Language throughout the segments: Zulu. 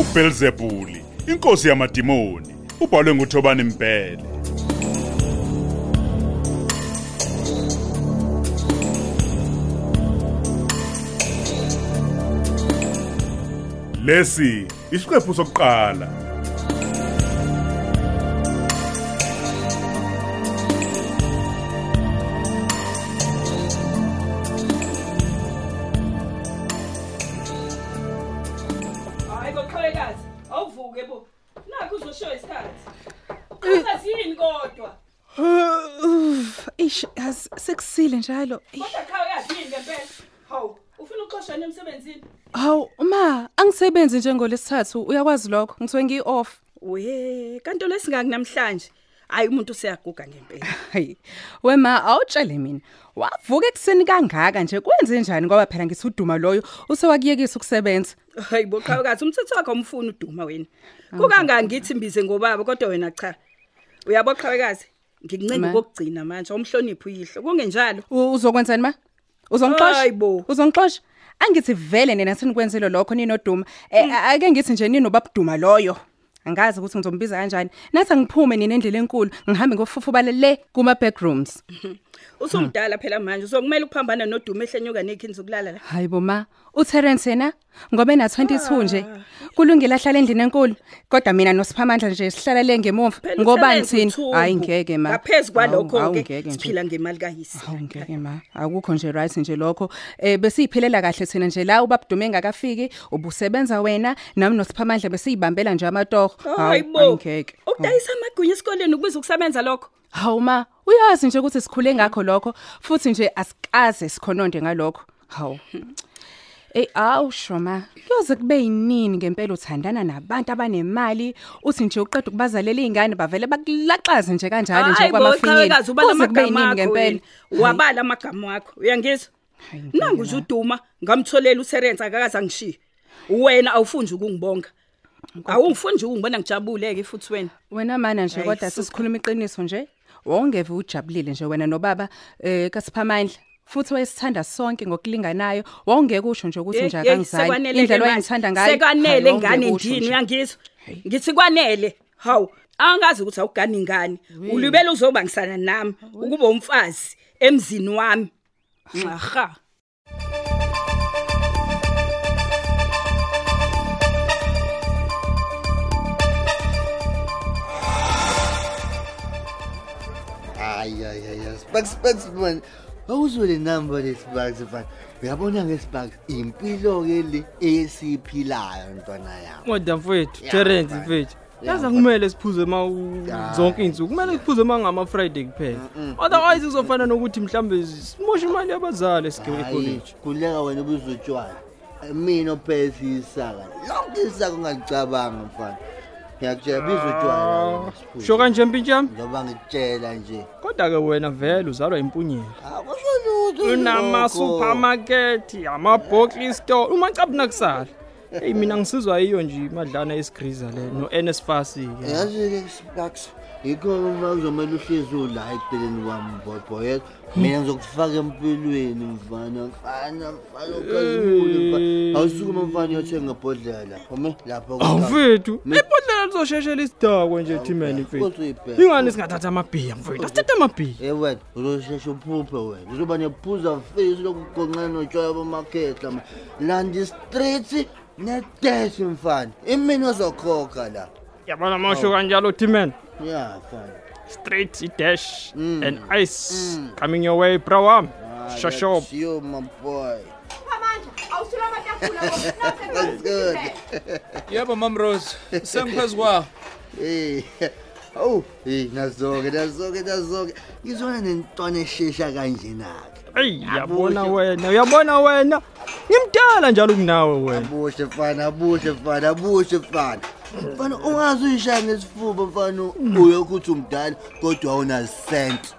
uBelzebuli inkosi yamadimoni ubhalwe nguThobani Mbhele Lesi isiqephu sokuqala hayi koqhawekazi awuvuke bo nakho uzoshiwa isikhathi Eh. uzazi yini kodwa ish as sekusile njalo Eish, kodwa qhawekazi yini ngempela hawu ufuna uxoshana emsebenzini hawu ma angisebenzi njengolesithathu uyakwazi lokho ngithiwe ngi-off we kanto lesingaki namhlanje hayi umuntu useyaguga ngempela hayi wema awutshele mina wavuka ekuseni kangaka nje kwenze njani ngoba phela ngithi uduma loyo usewakuyekisa ukusebenza hayi boqhawukazi umthetho wakho umfuni uduma wena kukangaki ngithi mbize ngobaba kodwa wena cha uyaboqhawekazi ngikuncenga Ma. kokugcina manje umhloniphi uyihlo kungenjalo U- uzokwenzani ma Hayi bo. uzongixosha uzongixosha angithi vele nina senikwenzile lokho ninoduma Eh, Mm. ake ngithi nje ninobabduma loyo angazi ukuthi ngizombiza kanjani nathi angiphume nina endlela enkulu ngihambe ngofufubale le kuma-backrooms usumdala phela manje uzokumele ukuphambana noduma ehlenyuka nekhini zokulala la hayi boma uterence yena ngoba ena-22 nje Ah. kulungile ahlala endlini enkulu kodwa mina nosiphamandla nje sihlala le ngemuva Phela ngoba umsebenzi nithini uthumbu. hayi ngeke ma ngaphezu Hawu, hawu, kwalokho-ke ngeke nje. siphila ngemali kayisi hawu ngeke ma akukho nje right nje lokho um besiyiphilela kahle thina nje la ubabudume ngakafiki ubusebenza wena nami nosiphamandla besiyibambela nje amatoho hayi bo ngeke ukudayisa amagunya esikoleni ukubiza ukusebenza lokho hawu ma uyazi nje ukuthi sikhule ngakho lokho futhi nje asikaze sikhononde ngalokho hawu eyi awu shoma kuyoze kube yinini ngempela uthandana nabantu abanemali uthi nje uqeda ukubazalela iy'ngane bavele bakulaxaze nje kanjalo nje Hayi bo, qhawekazi, ubala kwamafinyeliuze kube amagama yinini akho ngempela wena. wabala amagama akho uyangizwa Hayi, ngeke nangu nje uduma ngamtholela userensi akakaze angishiye wena awufuni nje ukungibonga awungifuni nje ukungibona ngijabule-ke futhi wena wena mana nje Hayi, kodwa suka. sisikhuluma iqiniso nje wawungeve ujabulile nje wena nobaba eh, um kasiphamandla futhi wayesithanda sonke ngokulinganayo wawungeke usho nje ukuthi nje Yeyi, akangizali sekwanele-ke indlela eh, manje. wayengithanda ngayo sekwanele hayi, wawungeke ngane usho ndini nje. uyangizwa ngithi kwanele hawu angazi ukuthi awugani ngane ulibele uzobangisana nami ukuba umfazi emzini wami nxarha hayi hayi hayi sparks sparks man awuzwe le namba le sparks mfana uyabona ke sparks impilo-ke le esiyiphilayo ntwana yami kodwa mfethu Ya, terence mfana. mfethu Ya, yaza mfana. kumele siphuze ma u- Ya. zonke iy'nsuku kumele siphuze ma ngama-friday kuphela otherwise kuzofana nokuthi mhlawumbe simoshe imali yabazali esige- hayi ecollege khuleka wena ubuzotshwala mina ophese isaka lonke isaka ungalicabanga mfana ngiyakutshela Ah, bizotshwala sho kanje mpintshami njengoba ngikutshela nje kodwa-ke wena vele uzalwa impunyela akusholutho unamasupermakethi ama-bokli store umacabu nakusala eyi mina ngisizwa yiyo nje imadlana yesigriza le no-nsfas-ke yazi-ke sparks yikho-ke uma uzomele uhlezi ula ekupheleni kwami bhobhoyeza mina ngizokufaka empilweni mfana mfana mfana ukhazimule mfana awusukuma mfana uyothenga ibhodlela ome lapho awumfethu Mi- ibhodlela lizosheshela isidakwe nje thimeni mfethu kuthibhe ingani singathatha amabhiya mfethu asithathe amabhiya ye wena uzosheshe uphuphe wena uzoba nephuza fesi lokugonqana notshwaya bamakhehla ma landa istrithi netesi mfana imini ozokhokha la yabona mosho Oh. kanjalo thimeni ya mfana straight dash and ice coming your way bro Um, wami Mm. Ah, shoshob that's you my boy That's good. awusulamatafula yebo mam rose sengiphezu kwawo Eh. Awu, eh nazoke, nazoke, nazoke. Ngizona nentwana eshesha kanjena ke. eyi yabona wena uyabona wena ngimdala njalo kunawe wena Abuhle mfana, abuhle mfana, abuhle mfana. Mfana ungazi uyishaya ngesifuba mfana uyokuthi umdala kodwa awunasent.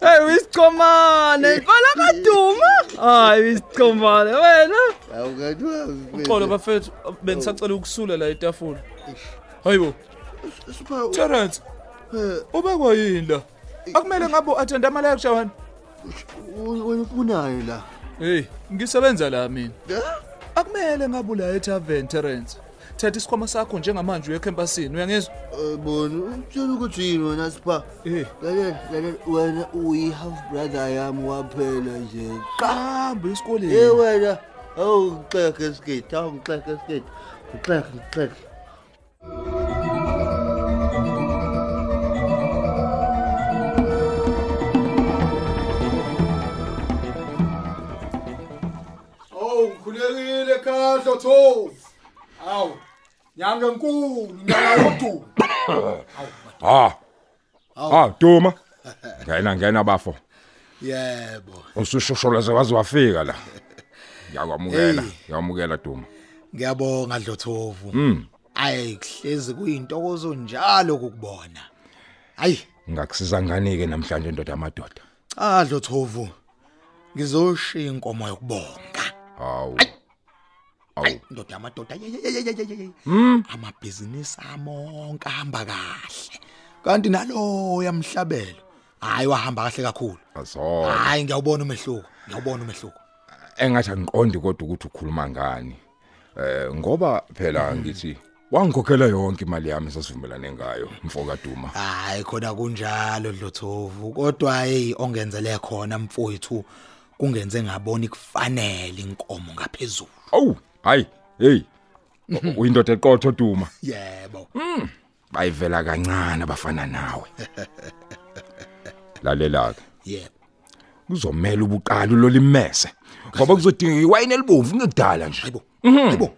eyi uyisichomane mfana kaduma hayi uyisichomane wena xolo Awukadwa. bafethu bengisacela ukusula la etafula hayibo Sipha eh, terence ubekwa yini la akumele ngabe u-athende ama-lecture wena wena kunayo la. heyi ngisebenza la mina akumele ngabe ula etavern terence thatha isikhwama sakho njengamanje uye ekhempasini uyangizwa Eh, bona utshela ukuthi yini wena sipha Eh. lalela lalela wena uyi-half brother yami waphela nje qamba esikoleni e wena awungixeke esiketi awungixeke esiketi ngixeke ngixeke Awu Oh, ngikhulekile kahle Thosi. Awu. Nyanga enkulu, nyanga yodumo. ha ha duma ngena ngena bafo Yebo. usushosholoze waze wafika la ngiyakwamukela Hey. ngiyakwamukela duma Ngiyabonga Dlothovu. Mm. Ayi kuhlezi kuyintokozo njalo ukubona. Hayi, ngingakusiza ngani-ke namhlanje indoda yamadoda cha Dlothovu. Ngizoshiya inkomo yokubonga. hawu Ayi hawu ndoda amadoda. ye, ye, ye, ye, ye, ye, ye. Amabhizinisi amonke ahamba kahle. Kanti nalo yamhlabelo. Hayi wahamba kahle kakhulu. azona Hayi ngiyawubona umehluko. Ngiyawubona umehluko. engathi angiqondi kodwa ukuthi ukhuluma ngani eh ngoba phela ngithi wangikhokhela yonke imali yami esasivumelane ngayo mfoka duma Hayi khona kunjalo Dlothovu kodwa hey ongenzele khona mfowethu kungenze ngaboni kufanele inkomo ngaphezulu. awu hayi hey uyindoda eqotho duma Yebo. bayivela kancane abafana nawe lalela ke Yebo. kuzomela ubuqala ulolimese ngoba kuzodingeka iwayini elibomvu ngekudala nje Hayibo. Hayibo.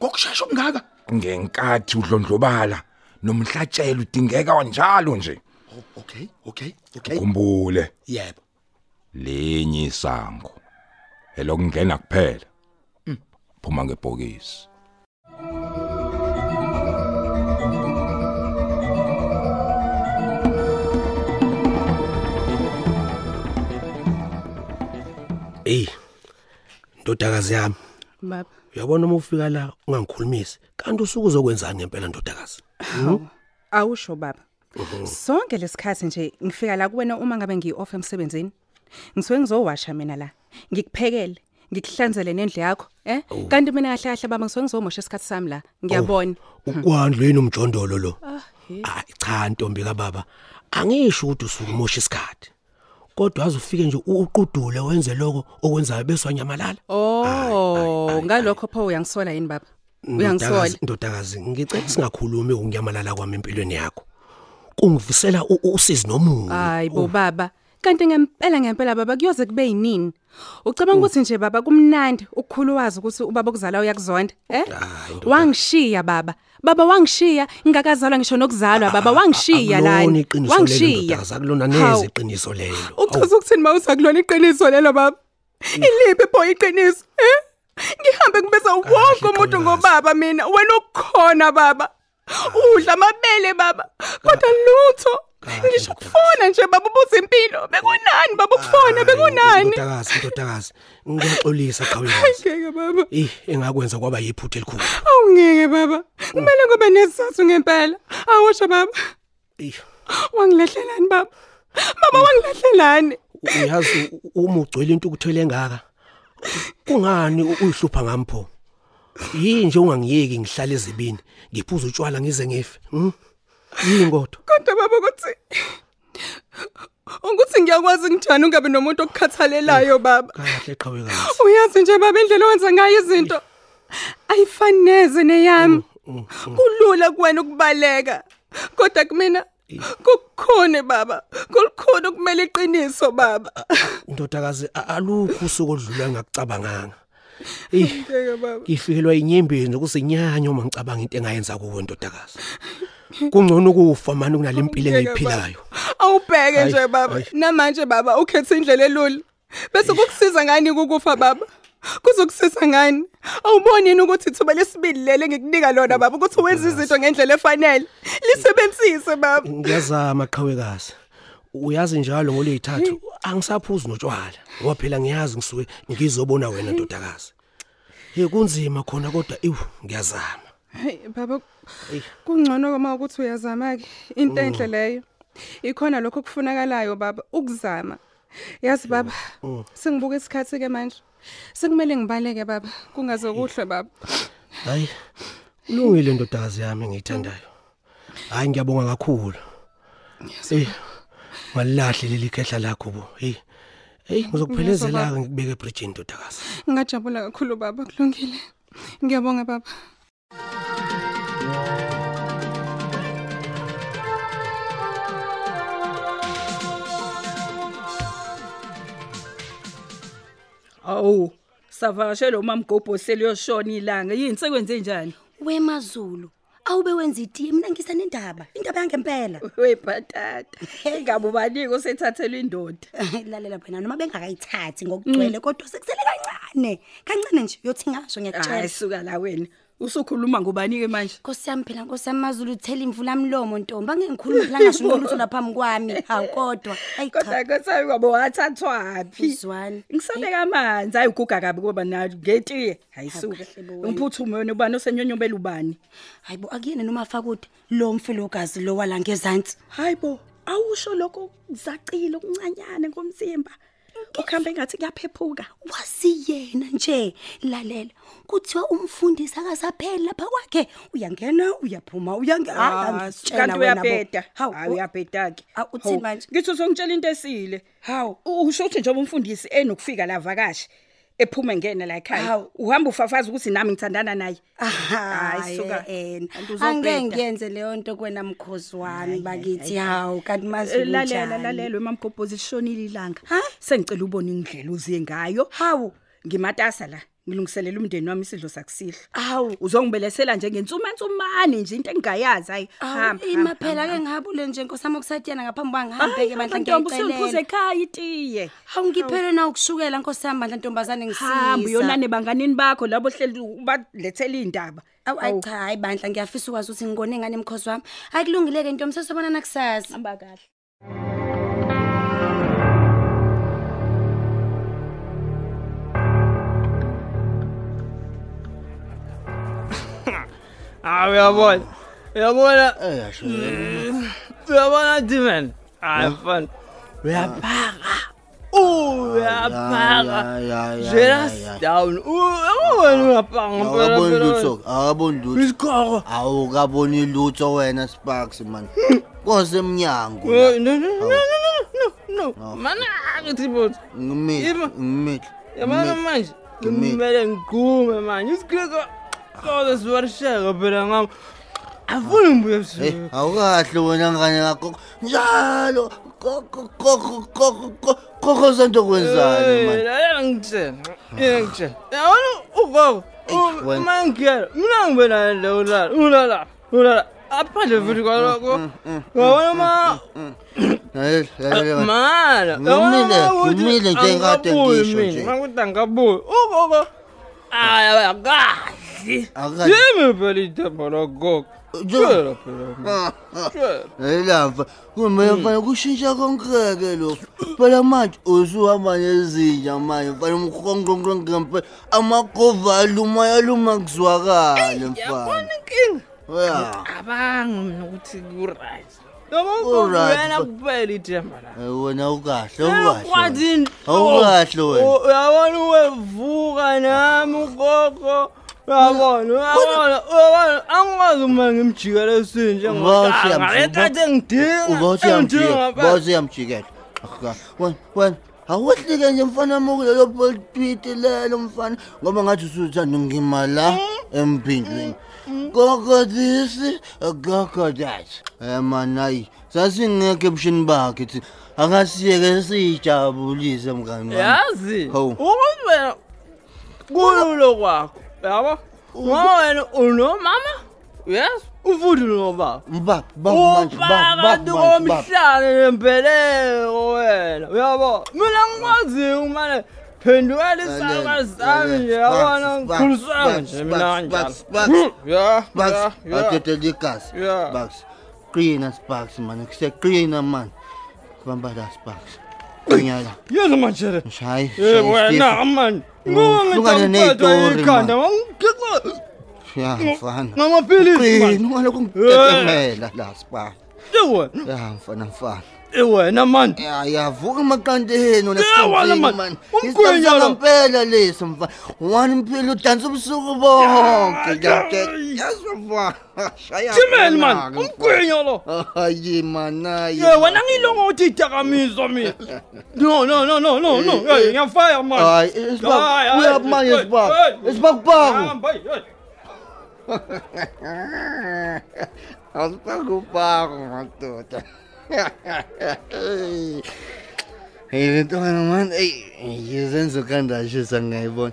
Ngokusheshsha okungaka. ngenkathi udlondlobala nomhlatshelo udingeka njalo nje O- Okay, okay, okay. khumbule Yebo. lenye isango elokungena kuphela phuma ngebhokisi Ey. Ndodakazi yami, baba uyabona uma ufika la ungangikhulumisi, kanti usuku uzokwenzani ngempela ndodakazi? awusho baba sonke lesikhathi nje ngifika la kuwena uma ngabe ngiyi-off emsebenzini ngisuke ngizowasha mina la ngikuphekele ngikuhlanzele nendle yakho eh kanti mina kahle kahle baba ngisuke ngizomosha isikhathi sami la ngiyabona Ukwandle yini Oh, umjondolo lo? Ah, Hayi cha ntombi kaBaba, angisho ukuthi usuku mosha isikhathi. Kodwa azu ufike nje uqudule wenze lokho okwenzayo bese wanyamalala. oh ngalokho pho uyangisola yini baba Mm, uyangisola Ndodakazi- Ndodakazi, ngicela singakhulumi unyamalala kwami empilweni yakho. Kungivusela u- u- usizi nomunye. hayi bo baba kanti ngempela ngempela baba kuyoze kube yinini ucabanga ukuthi nje baba kumnandi ukukhuluwazi ukuthi ubaba okuzala uyakuzonda eh wangishiya baba baba wangishiya ngingakazalwa ngisho nokuzalwa baba wangishiya Akulona lana iqiniso lelo, ndodakazi, akulona Hawu, neze iqiniso lelo. Awu. uchaza ukuthini ma uthi akulona iqiniso lelo baba iliphi pho iqiniso eh ngihambe ngibeza wonke umuntu Xolokazi. ngobaba mina wena ukukhona baba udla amabele baba kodwa lutho ngisho kufona nje baba ubuza impilo bekunani baba ukufona Hayi, bekunani Ndodakazi, ndodakazi. Ngiyaxolisa qhawekazi. ngeke baba Eh, engakwenza kwaba yiphutha elikhulu. awungeke baba kumele ngobe nesizathu ngempela awusho baba Eh, wangilahlelani baba baba wangilahlelani uyazi u- uma ugcwele into ukuthwele engaka kungani u- uyihlupha ngampho? Yini nje ungangiyeki ngihlale ezibini, ngiphuza utshwala ngize ngife. hm? Yini kodwa? kodwa baba ukuthi ukuthi ngiyakwazi ngijani ungabe nomuntu okukhathalelayo baba Kahle qhawekazi. uyazi nje baba indlela owenza ngayo izinto ayifani neze neyami kulula kuwena ukubaleka kodwa kumina kukukhone baba kulukhona ukumele iqiniso baba Ndodakazi, a- alukho usuku odlula ngakucabanganga. Eh, ngifikelwa inyembezi nokusinyanya uma ngicabanga into engayenza kuwe ndodakazi. Kungcono ukufa manje kunalempilo engiyiphilayo. awubheke Hayi, nje baba hayi. namanje baba ukhetha indlela elula bese kukusiza ngani ukufa baba kuzokusiza ngani awuboni yini ukuthi ithuba lesibili leli engikunika lona baba ukuthi wenze izinto ngendlela efanele lisebenzise baba Mm. Ngiyazama qhawekazi. Uyazi njalo ngolezithathu angisaphuzi notshwala ngoba phela ngiyazi ngisuke ngizobona wena ndodakazi. Hey kunzima khona kodwa iwu ngiyazama. hayi baba kungcono uma ukuthi uyazama-ke into Mm. enhle leyo ikhona Mm. lokho okufunakalayo baba ukuzama yazi baba sengibuka isikhathi-ke manje sekumele ngibaleke baba kungazokuhlwe baba hayi ulungile ndodakazi yami engiyithandayo hayi ngiyabonga kakhulu eh ngalahle leli khehla lakho bo hey hey ngizokuphelezela Ngiyezwa, ngikubeke ebridge ndodakazi ngingajabula kakhulu baba kulungile ngiyabonga baba Awu, savakashela umama Gobho seliyoshona ilanga. Yini sekwenze njani? wemazulu awube wenza itiye mina ngisanendaba indaba yangempela webhatata ingabe ubanike usethathelwe indoda lalela wena noma bengakayithathi ngokugcwele kodwa sekusele kancane kancane nje yothi ngasho Hayi, ngiyakutshela suka la wena usukhuluma ngobani-ke manje nkosi yami phela nkosi yami mazulu uthela imvula mlomo ntombi angengikhulumi phela ngasho unolutho laphambi kwami hawu kodwa ayi cha kodwa kothabi kwabo wathathwaphi uzwani Eh? ngisabeka amanzi ayiguga kabi kuba nayo ngetiye hayi Hawu, suka kahle bo wena. ngiphuthume wena ubani osenyonyobela ubani hayi bo akuyena noma fakude lo mfelokazi lo wala ngezantsi hayi bo awusho lokho zacile okuncanyane ngomzimba ukuhambe ngathi kuyaphephuka wasiyena nje lalela kuthiwa umfundisi akasapheli lapha kwakhe uyangena uyaphuma uyangena Hayi, angikutshela Ah, kanti wena bo. uyabheda Hawu, Ah, hayi uyabheda-ke uthini Hawu, manje? ngithi usongitshela into esile hawu u- usho ukuthi njengoba umfundisi enokufika la vakashe ephume ngena la ekhaya uhamba ufafaza ukuthi nami ngithandana naye Ah, hayi suka. yena Kanti uzobheda. angeke ngiyenze leyo nto kwena mkhosi wami bakithi hawu kanti Eh, lalela mazulalela lalela emamgobhozi lishonile ilanga sengicela ubone indlela uziye ngayo hawu ngimatasa la ngilungiselela umndeni wami isidlo sakusihlwa hawu uzongibelesela nje ngensumansumane nje into engingayazi hayi hamba, ima hamba, phela hamba. ke ngihambule nje nkosami okusatiyana ngaphambi Hayi, kwangihambe-ke bandla hamba, Ntombi, usungiphuza ngiyayicelela ekhaya itiye hawu ngiphelwe na ukushukela nkosi yami bandla ntombazane hamba ngisihamba uyonane banganini bakho labo hleli ubalethela iy'ndaba awu ayi cha hayi bandla ngiyafisa ukwazi ukuthi ngikone ngane mkhosi wami ayikulungile-ke ntombi sesobonana kusasa hamba kahle hayi Ah, uyabona uyabona uyabona diman hayi Ah. mfana uyaphaka Ah. uyaphaka jelas down uyabona uyaphaka mpela, awukaboni mpela, lutho awukaboni lutho isikhoko awukaboni lutho wena sparks mani kose emnyango wena. Eh, no no no no no no mana ngithi bot ngimihle Ima. ngimihle yabona manje kumele ngigqume manje isikhoko kodwa siwarisheka phela ngami afuni ngibuye ebusuku awukahle Eh, wena ngane kagogo njalo gogo gogo gogo gogo, gogo santo kwenzani mani Eh, lalela ngitshela yena ngitshela yabona ugogo wena. uma ngigela mina ngibe naye le ulala ulala ulala aphandle futhi kwaloko yabona ma Lalela, lalela wena. mala Ngumile, Oh, ngumile njengakade ngisho nje. makuthi angabuyi ugogo hayi akadli Akadli. yimi phela idemba lagogo phela phela Hayilamva kumele mfana kushintsha konke-ke lokho phela manje usuhamba nezinja manje mfana umkhonqonqongempela amagovali umayaluma kuzwakale mfana inkinga Ya. cabangi mina ukuthi ku-right yabo ugogo Ku-right, yena but- kuphela idemba la Eh, wena ukahle kwathi ukahle inhlo- awukahle wena U- Oh, uyabona uwevuka nami ugogo uyabona uyabona uyabona angikwazi uma ngimjikelesini Ubawuthi njengale nkathi Ah, engidinga uyamjikela wena wena awehlike nje mfana ami kulelo politwiti lelo mfana ngoba ngathi usuthanda ngima Hmm? la empindlweni gogodisi gogodat emanayi sasingekho ebushini bakhe thi akasiyeke siyijabulise mngani wami. yazi Hawu. ukuthi wena kululo kwakho yabo ngoba wena unomama yes ufuthi unobaba mbaba uphakathi komhlane nembeleko wena uyabo mina ngikwaziyo kumane phendukela Eh, isaka sami nje yabona ngikhulisanga nje mina kanjalo ya ya ya adedele igazi Yeah. Bucks. qina sparks mani kusiyaqina mani bamba la sparks qinala yenza manjele shayi Eh, wena mani ngoba Hlukane ney'tori, ngithamqedwa ikhanda man. ngamgixa ya mfana ngamaphilisi qina ngalokhu ngitetemela la sparks Ewe. Ya mfana mfana. Ewena man. Ya yavuka emaqandeni wena Ewena, sithini, man. man. Umgwinya lo. Isikhundla ngempela leso mfana. Wani impilo udansa ubusuku bonke. Yakhe. Yazwa. Shaya. Thimeni man, umgwenya lo. Hayi mana. Ye wena ngilongothi idakamizwa mina. No no no no no no. Hey ngiyafaya man. Hayi, eh, isibaba. Hayi, hayi, Uyabumanya hey, isibaba. hey. Isibakubaku. Hamba, hey, hey. Awusakubaku madoda. Hey, into man, hey, izenzo kandashisa ngayibona.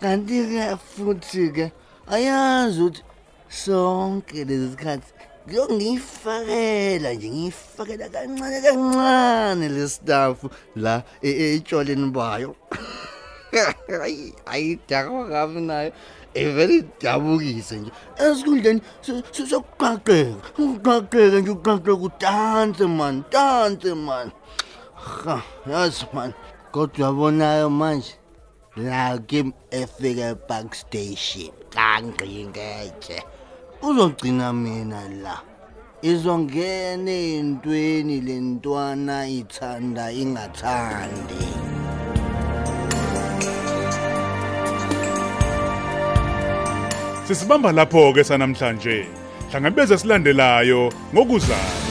Kanti-ke futhi-ke ayazi ukuthi sonke lezi sikhathi ngiyongiyifakela nje ngiyifakela kancane kancane le stafu la e- etshwaleni bayo Hayi, ayidakwa kabi nayo evele idabukise nje esikhundleni so- so- sokuqaqeka ukuqaqeka nje ukuqaqeka udanse mani danse mani ha yazi mani kodwa yabonayo manje la kim efika epark station kangqingetshe uzogcina mina la izongena ey'ntweni le ntwana ithanda ingathandi Sisibamba lapho ke sanamhlanje. Hlangabeze silandelayo ngokuzayo.